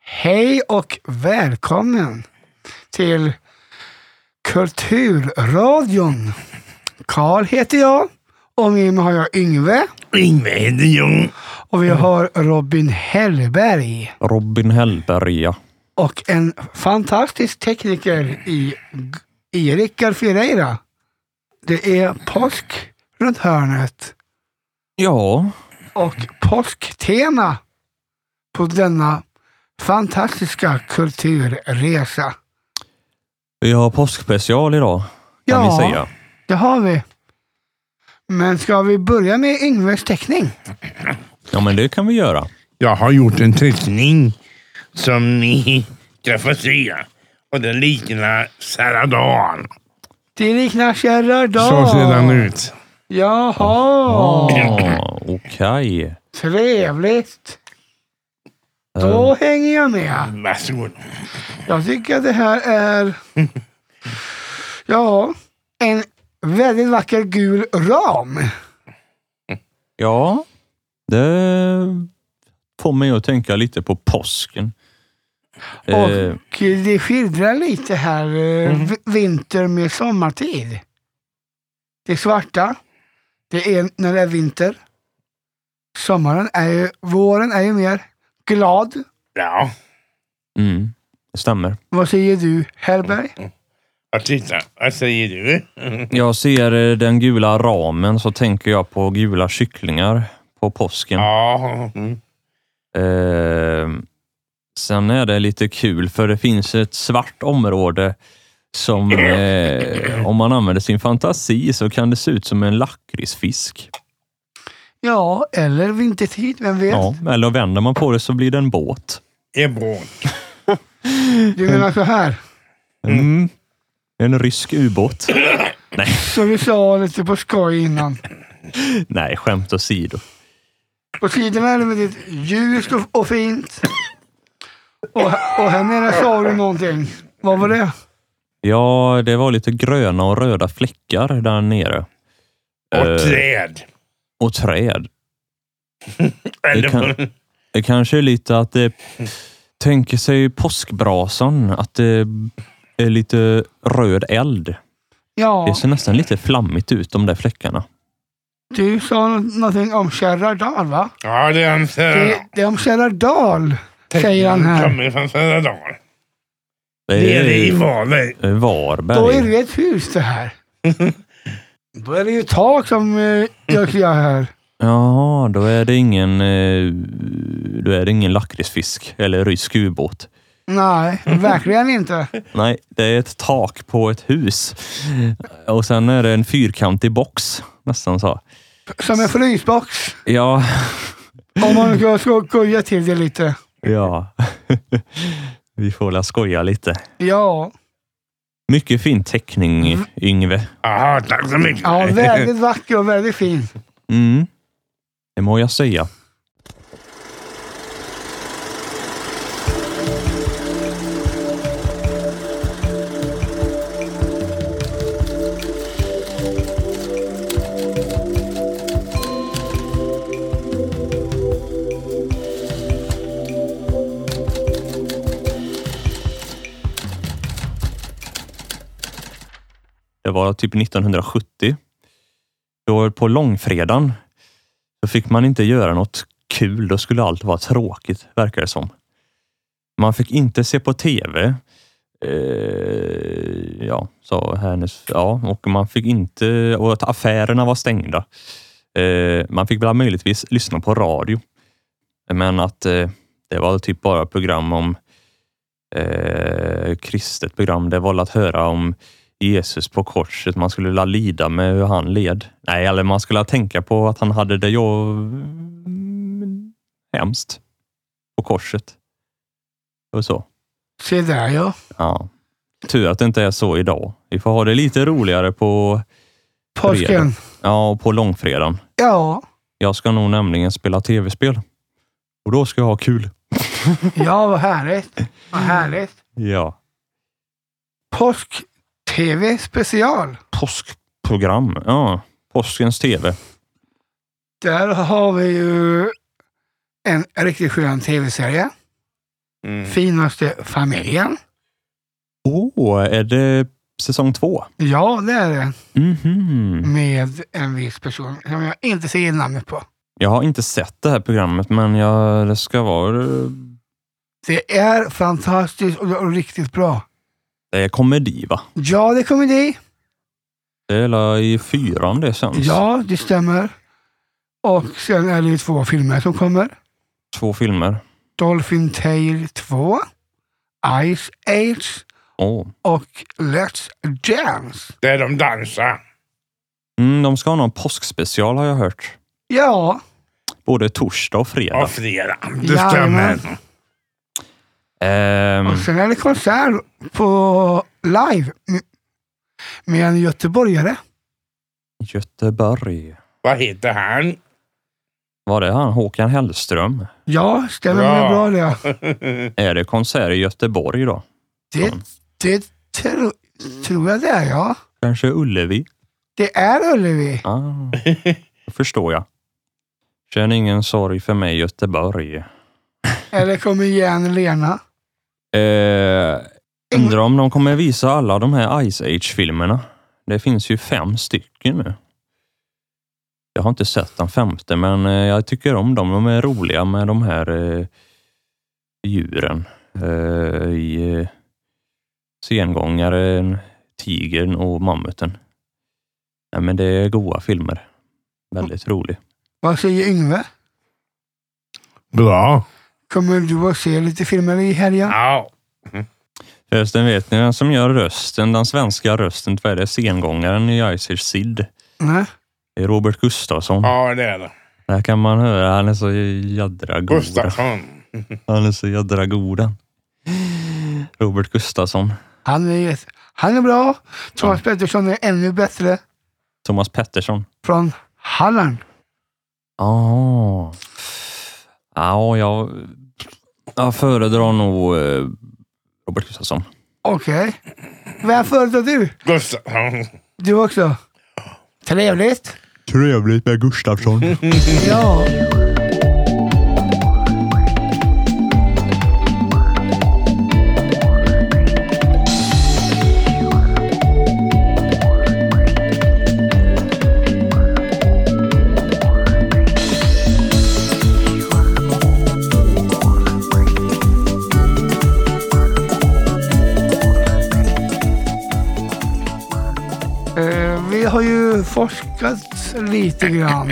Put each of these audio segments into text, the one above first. Hej och välkommen till Kulturradion. Karl heter jag och med mig har jag Yngve Yngve Hedjung. och vi har Robin Hellberg Robin Hellberg, ja. och en fantastisk tekniker i, i Rickard Ferreira. Det är påsk runt hörnet Ja, och påsktema på denna fantastiska kulturresa. vi har påskspecial idag, kan vi säga. det har vi. Men ska vi börja med Yngves teckning? Ja, men det kan vi göra. Jag har gjort en teckning som ni ska få se. Och den liknar Saradan. Det liknar Gerard Dahl. Så ser den ut. Jaha. Ah, Okej. Trevligt. Då hänger jag med. Varsågod. Jag tycker att det här är... Ja, en väldigt vacker gul ram. Ja, det får mig att tänka lite på påsken. Eh, Mm. Och det skildrar lite här eh, v- vinter med sommartid. Det svarta, det är när det är vinter. Sommaren är ju, våren är ju mer glad. Ja, mm, det stämmer. Vad säger du Hellberg? och titta. Vad säger du? Jag ser eh, den gula ramen så tänker jag på gula kycklingar på påsken. Ja. Mm. Eh, sen är det lite kul för det finns ett svart område som eh, om man använder sin fantasi så kan det se ut som en lakritsfisk. Ja, eller vintertid, vem vet? Ja, eller vänder man på det så blir det en båt. Är båt. Du menar så här, Mm. En rysk ubåt. Nej, så vi sa lite på skoj innan. nej, skämt åsido. På sidorna är det väldigt ljust och, och fint. Och, och här nere sa du någonting. Vad var det? Ja, det var lite gröna och röda fläckar där nere. Eh, Och träd. och träd. Eller det kan- Det kanske är lite att det tänker sig påskbrasan, att det är lite röd eld. Det Ja, ser nästan lite flammigt ut, de där fläckarna. du sa nå- någonting om Gerard Dahl va? Ja, det är en Det, Saradan. det är om Gerard Dahl, säger han här. Kommer från Saradan. Det Nere i är eh, Valö. Då är Varberg. det ett hus det här. Då är det ju tak som eh, jag kliar här. Jaha, då är det ingen, eh, då är det ingen lakritsfisk eller rysk ubåt. Nej, verkligen inte. Nej, det är ett tak på ett hus. Och sen är det en fyrkantig box, nästan så. Som en frysbox. Ja, Om man ska skoja till det lite. ja. Vi får väl skoja lite. Ja, Mycket fin teckning, Yngve. Jaha, tack så mycket. ja väldigt vacker och väldigt fin. Mm. Det må jag säga. Det var typ 1970. Då på långfredagen då fick man inte göra något kul. Då skulle allt vara tråkigt, verkar det som. Man fick inte se på tv. Eh, ja, sa hennes. Ja, och man fick inte... Och att affärerna var stängda. Eh, man fick väl möjligtvis lyssna på radio. Men att eh, det var typ bara program om eh, kristet program. Det var att höra om Jesus på korset. Man skulle la lida med hur han led. Nej, eller man skulle tänka på att han hade det jag... hemskt. På korset. Och så. Se där ja. Ja. Tur att det inte är så idag. Vi får ha det lite roligare på, Påsken. ja, på långfredagen. Ja, Jag ska nog nämligen spela tv-spel. Och då ska jag ha kul. ja vad härligt. Vad härligt. Ja. Påsk-tv special. Påskprogram. Ja. Påskens tv. Där har vi ju en riktigt skön tv-serie Mm. Finaste familjen. Åh, är det säsong två? Ja, det är det. Mhm. Med en viss person som jag inte ser namnet på. Jag har inte sett det här programmet, men jag, det ska vara... Det är fantastiskt och, och riktigt bra. Det är komedi, va? Ja, det är komedi. Det är la i fyran det sänds. Ja, det stämmer. Och sen är det ju två filmer som kommer. Två filmer. Dolphin Tale 2, Ice Age Åh. och Let's Dance. Där de dansar. Mm, de ska ha någon påskspecial har jag hört. Ja, Både torsdag och fredag. Och flera. Det Ja, stämmer. Ehm, och sen är det konsert på live m- med en göteborgare. Göteborg. Vad heter han? Var det han? Håkan Hellström? Ja, stämmer bra, Bra. bra det. Är det konsert i Göteborg då? Det, det tro, tror jag det är, ja. Kanske Ullevi? Det är Ullevi. Ah, då förstår jag. Känn ingen sorg för mig Göteborg. Eller kom igen Lena. Eh, undrar om de kommer visa alla de här Ice Age-filmerna. Det finns ju fem stycken nu. Jag har inte sett den femte, men eh, jag tycker om dem. De är roliga med de här eh, djuren. Eh, i eh, Sengångaren, Tigern och Mammuten. Nej, men det är goa filmer. Väldigt rolig. Vad säger Yngve? Bra. Kommer du att se lite filmer i helgen? Ja. Förresten, vet ni vem som gör rösten? Den svenska rösten till vad är det? Sengångaren i Ice Age Sid. Nej. Det är Robert Gustafsson. ja, det är det. Där kan man höra. Han är så jädra god. Gustafsson. Han är så jädra god han. Robert Gustafsson. Han är, han är bra. Thomas Pettersson är ännu bättre. Thomas Pettersson. Från Halland. Ja. Ja, jag, jag föredrar nog eh, Robert Gustafsson. Okej. Vem föredrar du? Gustafsson. Du också? Trevligt. Trevligt med Gustafsson. Ja. Eh, Vi har ju forskat lite grann.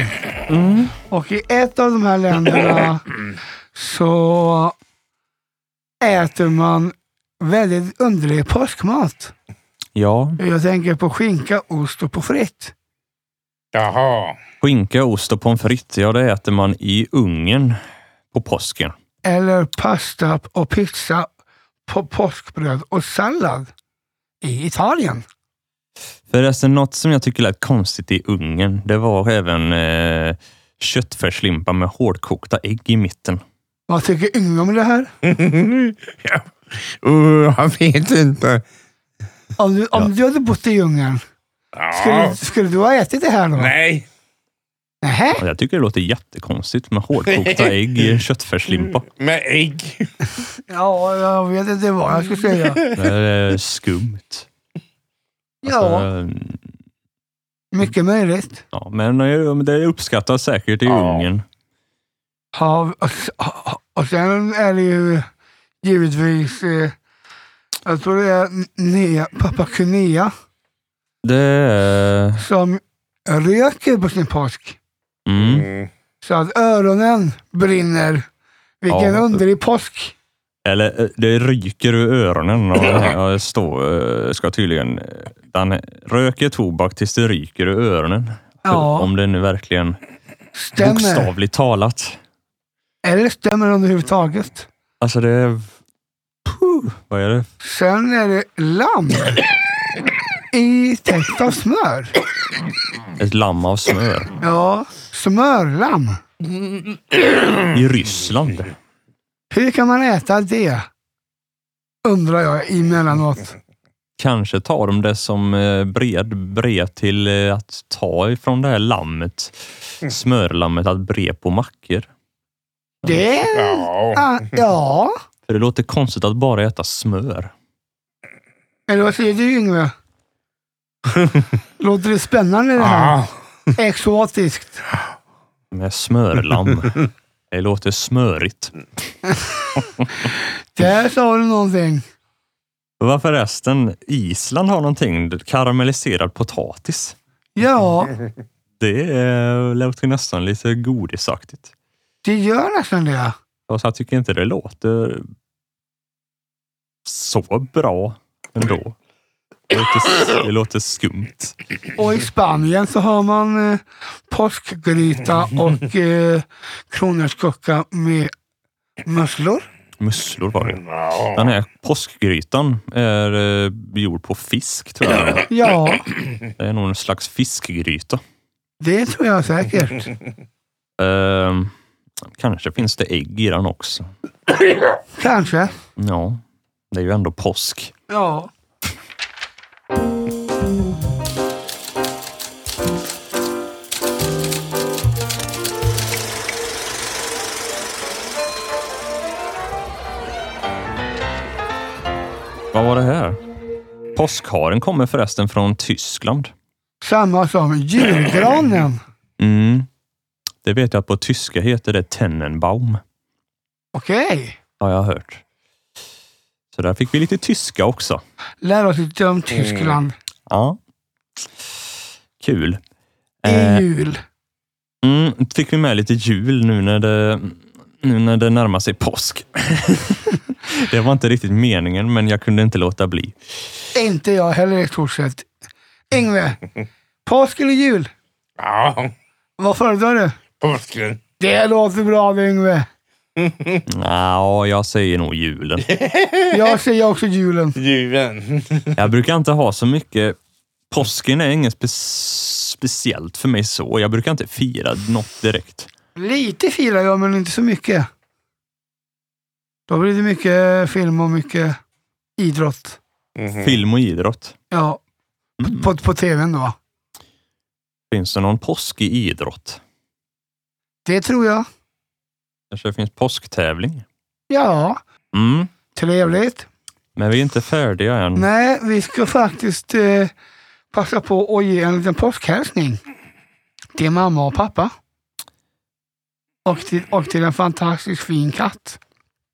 Mm. Och i ett av de här länderna så äter man väldigt underlig påskmat. ja, Jag tänker på skinka, ost och på fritt. Jaha. skinka, ost och pommes frites. Ja, det äter man i Ungern på påsken. Eller pasta och pizza på påskbröd och sallad i Italien. Förresten, något som jag tycker lät konstigt i Ungern, det var även eh, köttfärslimpa med hårdkokta ägg i mitten. Vad tycker Yngve om det här? ja. Uh, jag vet inte. Om du, om du hade bott i djungeln, skulle, Ja. skulle du ha ätit det här då? Nej. Nähä? Ja, Jag tycker det låter jättekonstigt med hårdkokta ägg i en köttfärslimpa. Med ägg. Ja, jag vet inte vad jag skulle säga. Det är skumt. Ja, Alltså, mycket möjligt. ja, men eh, det uppskattas säkert i Ja. Ungern. Ja, och, s- och sen är det ju givetvis, eh, jag tror det är Nea, pappa Kunea Det är... som röker på sin påsk. Mm. Mm. Så att öronen brinner. Vilken Ja. underlig påsk. Eller eh, det ryker ur öronen. Och det här står, eh, ska tydligen... eh, Den röker tobak tills det ryker ur öronen. Ja, Om det nu verkligen stämmer. bokstavligt talat. Eller stämmer den överhuvudtaget. Alltså det är... Puh, vad är det? Sen är det lamm i täckt av smör. Ett lamm av smör. Ja, smörlamm. I Ryssland. Hur kan man äta det? Undrar jag emellanåt. Kanske tar de det som eh, bred, bred till eh, att ta ifrån det här lammet, smörlammet, att bre på mackor. Det Ja. Ah, ja, För det låter konstigt att bara äta smör. Eller vad säger du Yngve? Låter det spännande det här? Ja, Exotiskt. Med smörlamm. Det låter smörigt. Där sa du någonting. Varför resten Island har någonting karamelliserad potatis. Ja, Det eh, låter nästan lite godisaktigt. det gör nästan det. Fast jag tycker inte det låter så bra ändå. Det låter, det låter skumt. Och i Spanien så har man eh, påskgryta och eh, kronärtskocka med musslor. Musslor var det. Den här påskgrytan är eh, gjord på fisk tror jag. Ja, Det är nog en slags fiskgryta. det tror jag säkert. Ehm, kanske finns det ägg i den också. Kanske. Ja, det är ju ändå påsk. Ja. Vad var det här? Påskharen kommer förresten från Tyskland. Samma som julgranen. Mm. Det vet jag att på tyska heter det Tennenbaum. Okej. Har jag hört. Så där fick vi lite tyska också. Lär oss lite om Tyskland Ja. Kul. i Eh, jul. mm, fick vi med lite jul nu när det, nu när det närmar sig påsk. det var inte riktigt meningen, men jag kunde inte låta bli. Inte jag heller i stort sett. Yngve, påsk eller jul? ja. Vad föredrar du? Påsken. Det låter bra det, Yngve. Ja, jag säger nog julen. Jag säger också julen. Julen. Jag brukar inte ha så mycket. Påsken är inget spe speciellt för mig så. Jag brukar inte fira något direkt. Lite firar jag, men inte så mycket. Då blir det mycket film och mycket idrott. Mhm. Mm. Film och idrott. Ja, Mm. på, på tvn då. Finns det någon påsk i idrott? Det tror jag. Kanske det finns påsktävling? Ja, Mm. trevligt. Men vi är inte färdiga än. Nej, vi ska faktiskt eh, passa på att ge en liten påskhälsning till mamma och pappa. Och till, och till en fantastiskt fin katt.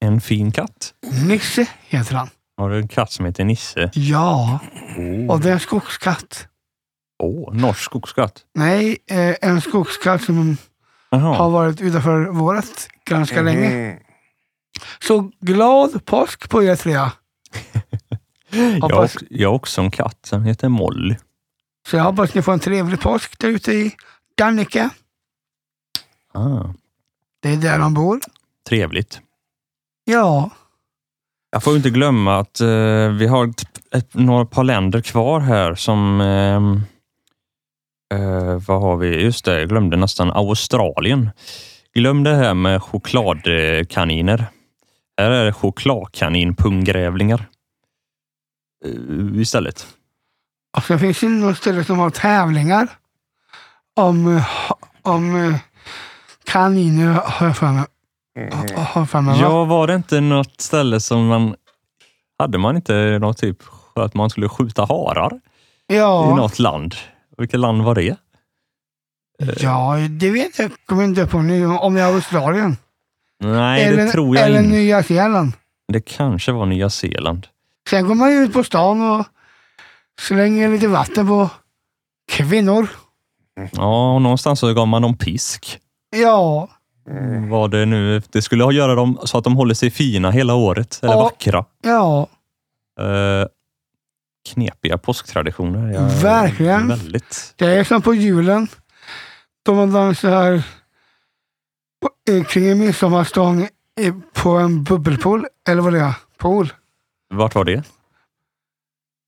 En fin katt. Nisse heter han. Har du en katt som heter Nisse? Ja, Åh, och det är en skogskatt. Åh, norsk skogskatt. Nej, eh, en skogskatt som har Jaha. varit utanför vårat ganska länge. Mm. Så glad påsk på er tre. Jag har, också, jag har också en katt som heter Molly. Så jag hoppas ni får en trevlig påsk där ute i Dannike. Ah, Det är där de bor. trevligt. Ja, Jag får ju inte glömma att eh, vi har ett, ett, några par länder kvar här som... ehm, eh, vad har vi? Just det, jag glömde nästan Australien. Glöm det här med chokladkaniner. Här är det chokladkaninpunggrävlingar. Eh, istället. Och sen finns Alltså, det några ställen som har tävlingar om, eh, om eh, kaniner, har jag för mig. Mhm. Eh, Har- Har jag för mig va? Ja, var det inte något ställe som man... Hade man inte något typ att man skulle skjuta harar i ja, något land? Vilket land var det? ja, det vet jag. Kommer inte upp om nu, om det är Australien. Nej, eller det tror jag eller inte. Nya Zeeland. Det kanske var Nya Zeeland. Sen går man ju ut på stan och slänger lite vatten på kvinnor. Ja, någonstans så gav man dem pisk. Ja, Vad det nu Det skulle ha- göra dem så att de håller sig fina hela året, eller Ja. vackra. ja. Eh, knepiga påsktraditioner. Jag- Verkligen. Väldigt. Det är som på julen. Då man dansar på- eh, kring en midsommarstång eh, på en bubbelpool, eller vad det är, pool. Vart var det?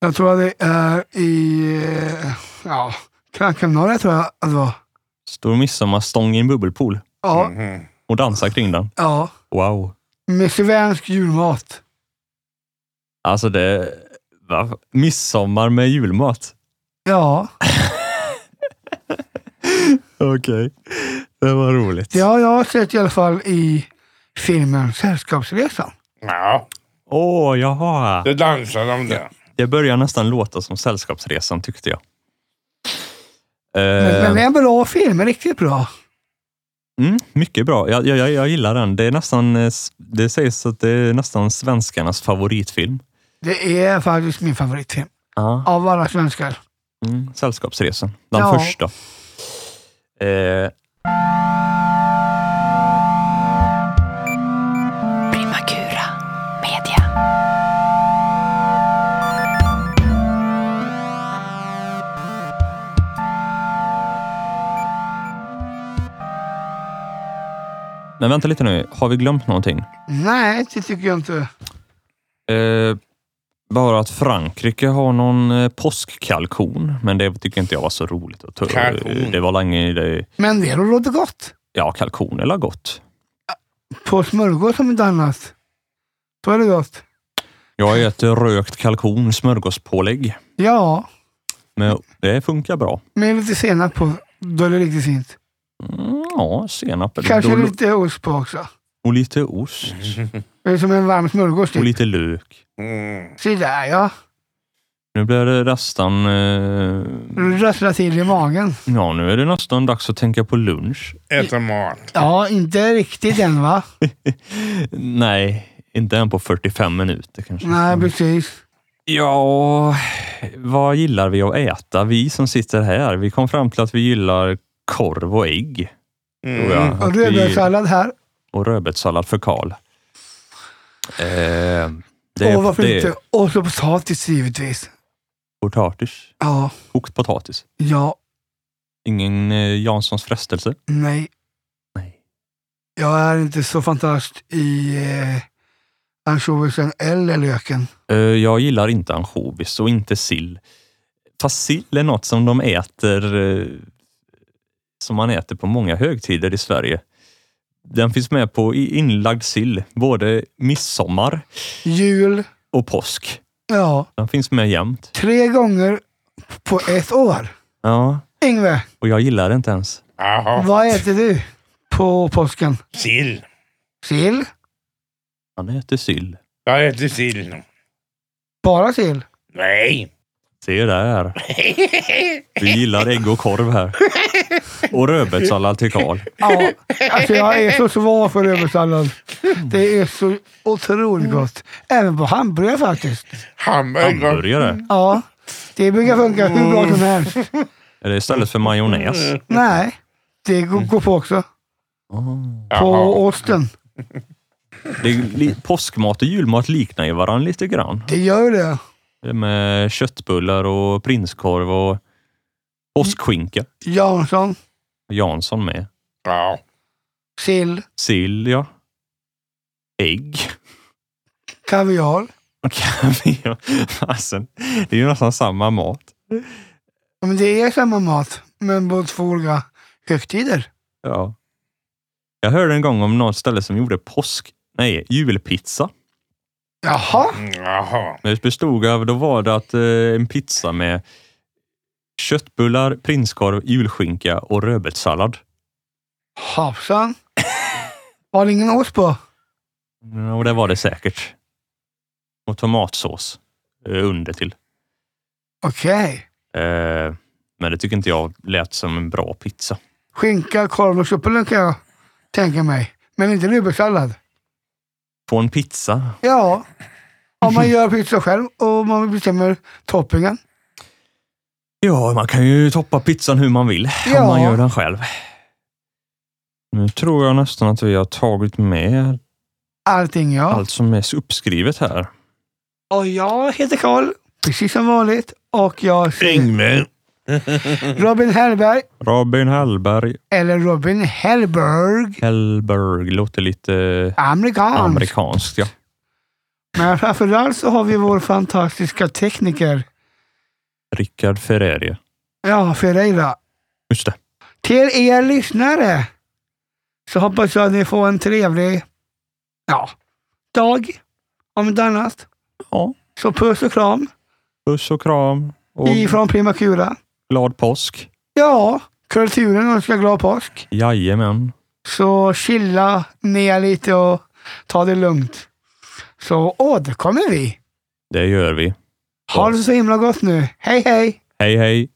Jag tror att det är i, eh, ja, Krankennorre tror jag att det var. Stor midsommarstång i en bubbelpool Ja, Mhm. och dansa kring den. ja. Wow. Med svensk julmat. Alltså det... Va? Midsommar med julmat. Ja, Okej. Det var roligt. det har jag sett i alla fall i filmen Sällskapsresan. Ja, Åh, jaha. då dansade de där. Det börjar nästan låta som Sällskapsresan tyckte jag. Men, Eh, men det är en bra film, riktigt bra. mm, mycket bra. Jag, jag, jag- jag gillar den. Det, är nästan, eh, s- det sägs att det är nästan svenskarnas favoritfilm. Det är faktiskt min favoritfilm Ja. av alla svenskar. Mm, sällskapsresan. Den Ja. första. Eh, Primakura Media. men vänta lite nu. Har vi glömt någonting? Nej, det tycker jag inte. Eh, bara att Frankrike har någon eh, påskkalkon, men det tycker inte jag var så roligt att ta upp. Eh, Kalkon. Det var länge... Det, Men det låter gott. ja, kalkon eller gott. På smörgås om inte annat. Då är det gott. Jag äter rökt kalkon, smörgåspålägg. Ja, Men det funkar bra. med lite senap på. Då är det riktigt fint. Mm, ja, senap. Kanske Då- lite ost på också. Och lite ost. Det är som en varm smörgås. Och Typ. lite lök. Mm. Se där ja. Nu blir det nästan... Eh, Du rasslar till i magen. ja, nu är det nästan dags att tänka på lunch. Äta mat. Ja, inte riktigt än va? Nej, inte än på 45 minuter kanske. Nej, precis. Ja, vad gillar vi att äta? Vi som sitter här, vi kom fram till att vi gillar korv och ägg. Mm. tror jag. Och Att vi- rödbetssallad här. Och rödbetssallad för Karl. Eh, Och det är, varför det inte? är Och så potatis givetvis. potatis. Ja, Kokt potatis. ja, Ingen eh, Janssons frestelse. nej. Nej. Jag är inte så fantast i eh, ansjovisen eller löken. Eh, jag gillar inte ansjovis och inte sill. Fast sill är något som de äter eh, som man äter på många högtider i Sverige. Den finns med på i- inlagd sill, både midsommar Jul, och påsk. ja. Den finns med jämt. Tre gånger på ett år. Ja, Yngve, och jag gillar det inte ens. Jaha, vad äter du på påsken? sill. Sill? Han äter sill. Jag äter sill. Bara sill? Nej. Se där. Vi gillar ägg och korv här. Och rödbetssallad till Karl. Ja, alltså jag är så svag för rödbetssallad. Det är så otroligt gott. Även på hamburgare faktiskt. Hamburgare. Hamburgare. Ja, det brukar funka hur bra som helst. Är det istället för Mm. majonnäs? Nej, det går, går på också. På Jaha. osten. Ah. Det är li- påskmat och julmat liknar ju varandra lite grann. Det gör ju det. Det är Med köttbullar och prinskorv och påskskinka. Jansson, Jansson med. Ja. sill, Sill, ja. Ägg. kaviar. Och kaviar. Fasen, det är ju nästan samma mat. Men det är samma mat, men på två olika högtider. Ja. Jag hörde en gång om något ställe som gjorde påsk... Nej, julpizza. Jaha, Jaha. Det bestod av, då var det att eh, en pizza med köttbullar, prinskorv, julskinka och rödbetssallad. hoppsan. Var det ingen ost på? Ja, Och det var det säkert. Och tomatsås eh, under till. Okej. Eh, men det tycker inte jag lät som en bra pizza. Skinka, korv och köttbullar kan jag tänka mig. Men inte rödbetssallad. På en pizza? Ja, om man gör pizza själv och man bestämmer toppingen. Ja, man kan ju toppa pizzan hur man vill om Ja. man gör den själv. Nu tror jag nästan att vi har tagit med Allting ja. allt som är uppskrivet här. Och jag heter Karl, precis som vanligt. Och jag säger Yngve. Robin Hellberg, Robin Hellberg. eller Robin Hellberg, Hellberg låter lite amerikansk. amerikanskt. Ja. Men framförallt så har vi vår fantastiska tekniker, Rickard Ferrerie. ja, Ferreira. Just det. Till er lyssnare så hoppas jag att ni får en trevlig ja, dag, om inte annat. Ja. Så puss och kram Puss och kram och ifrån Primakura. glad påsk. Ja, kulturen önskar glad påsk. Jajamän. Så chilla ner lite och ta det lugnt. så återkommer vi. Det gör vi. Ha det så himla gott nu. Hej hej! Hej, hej!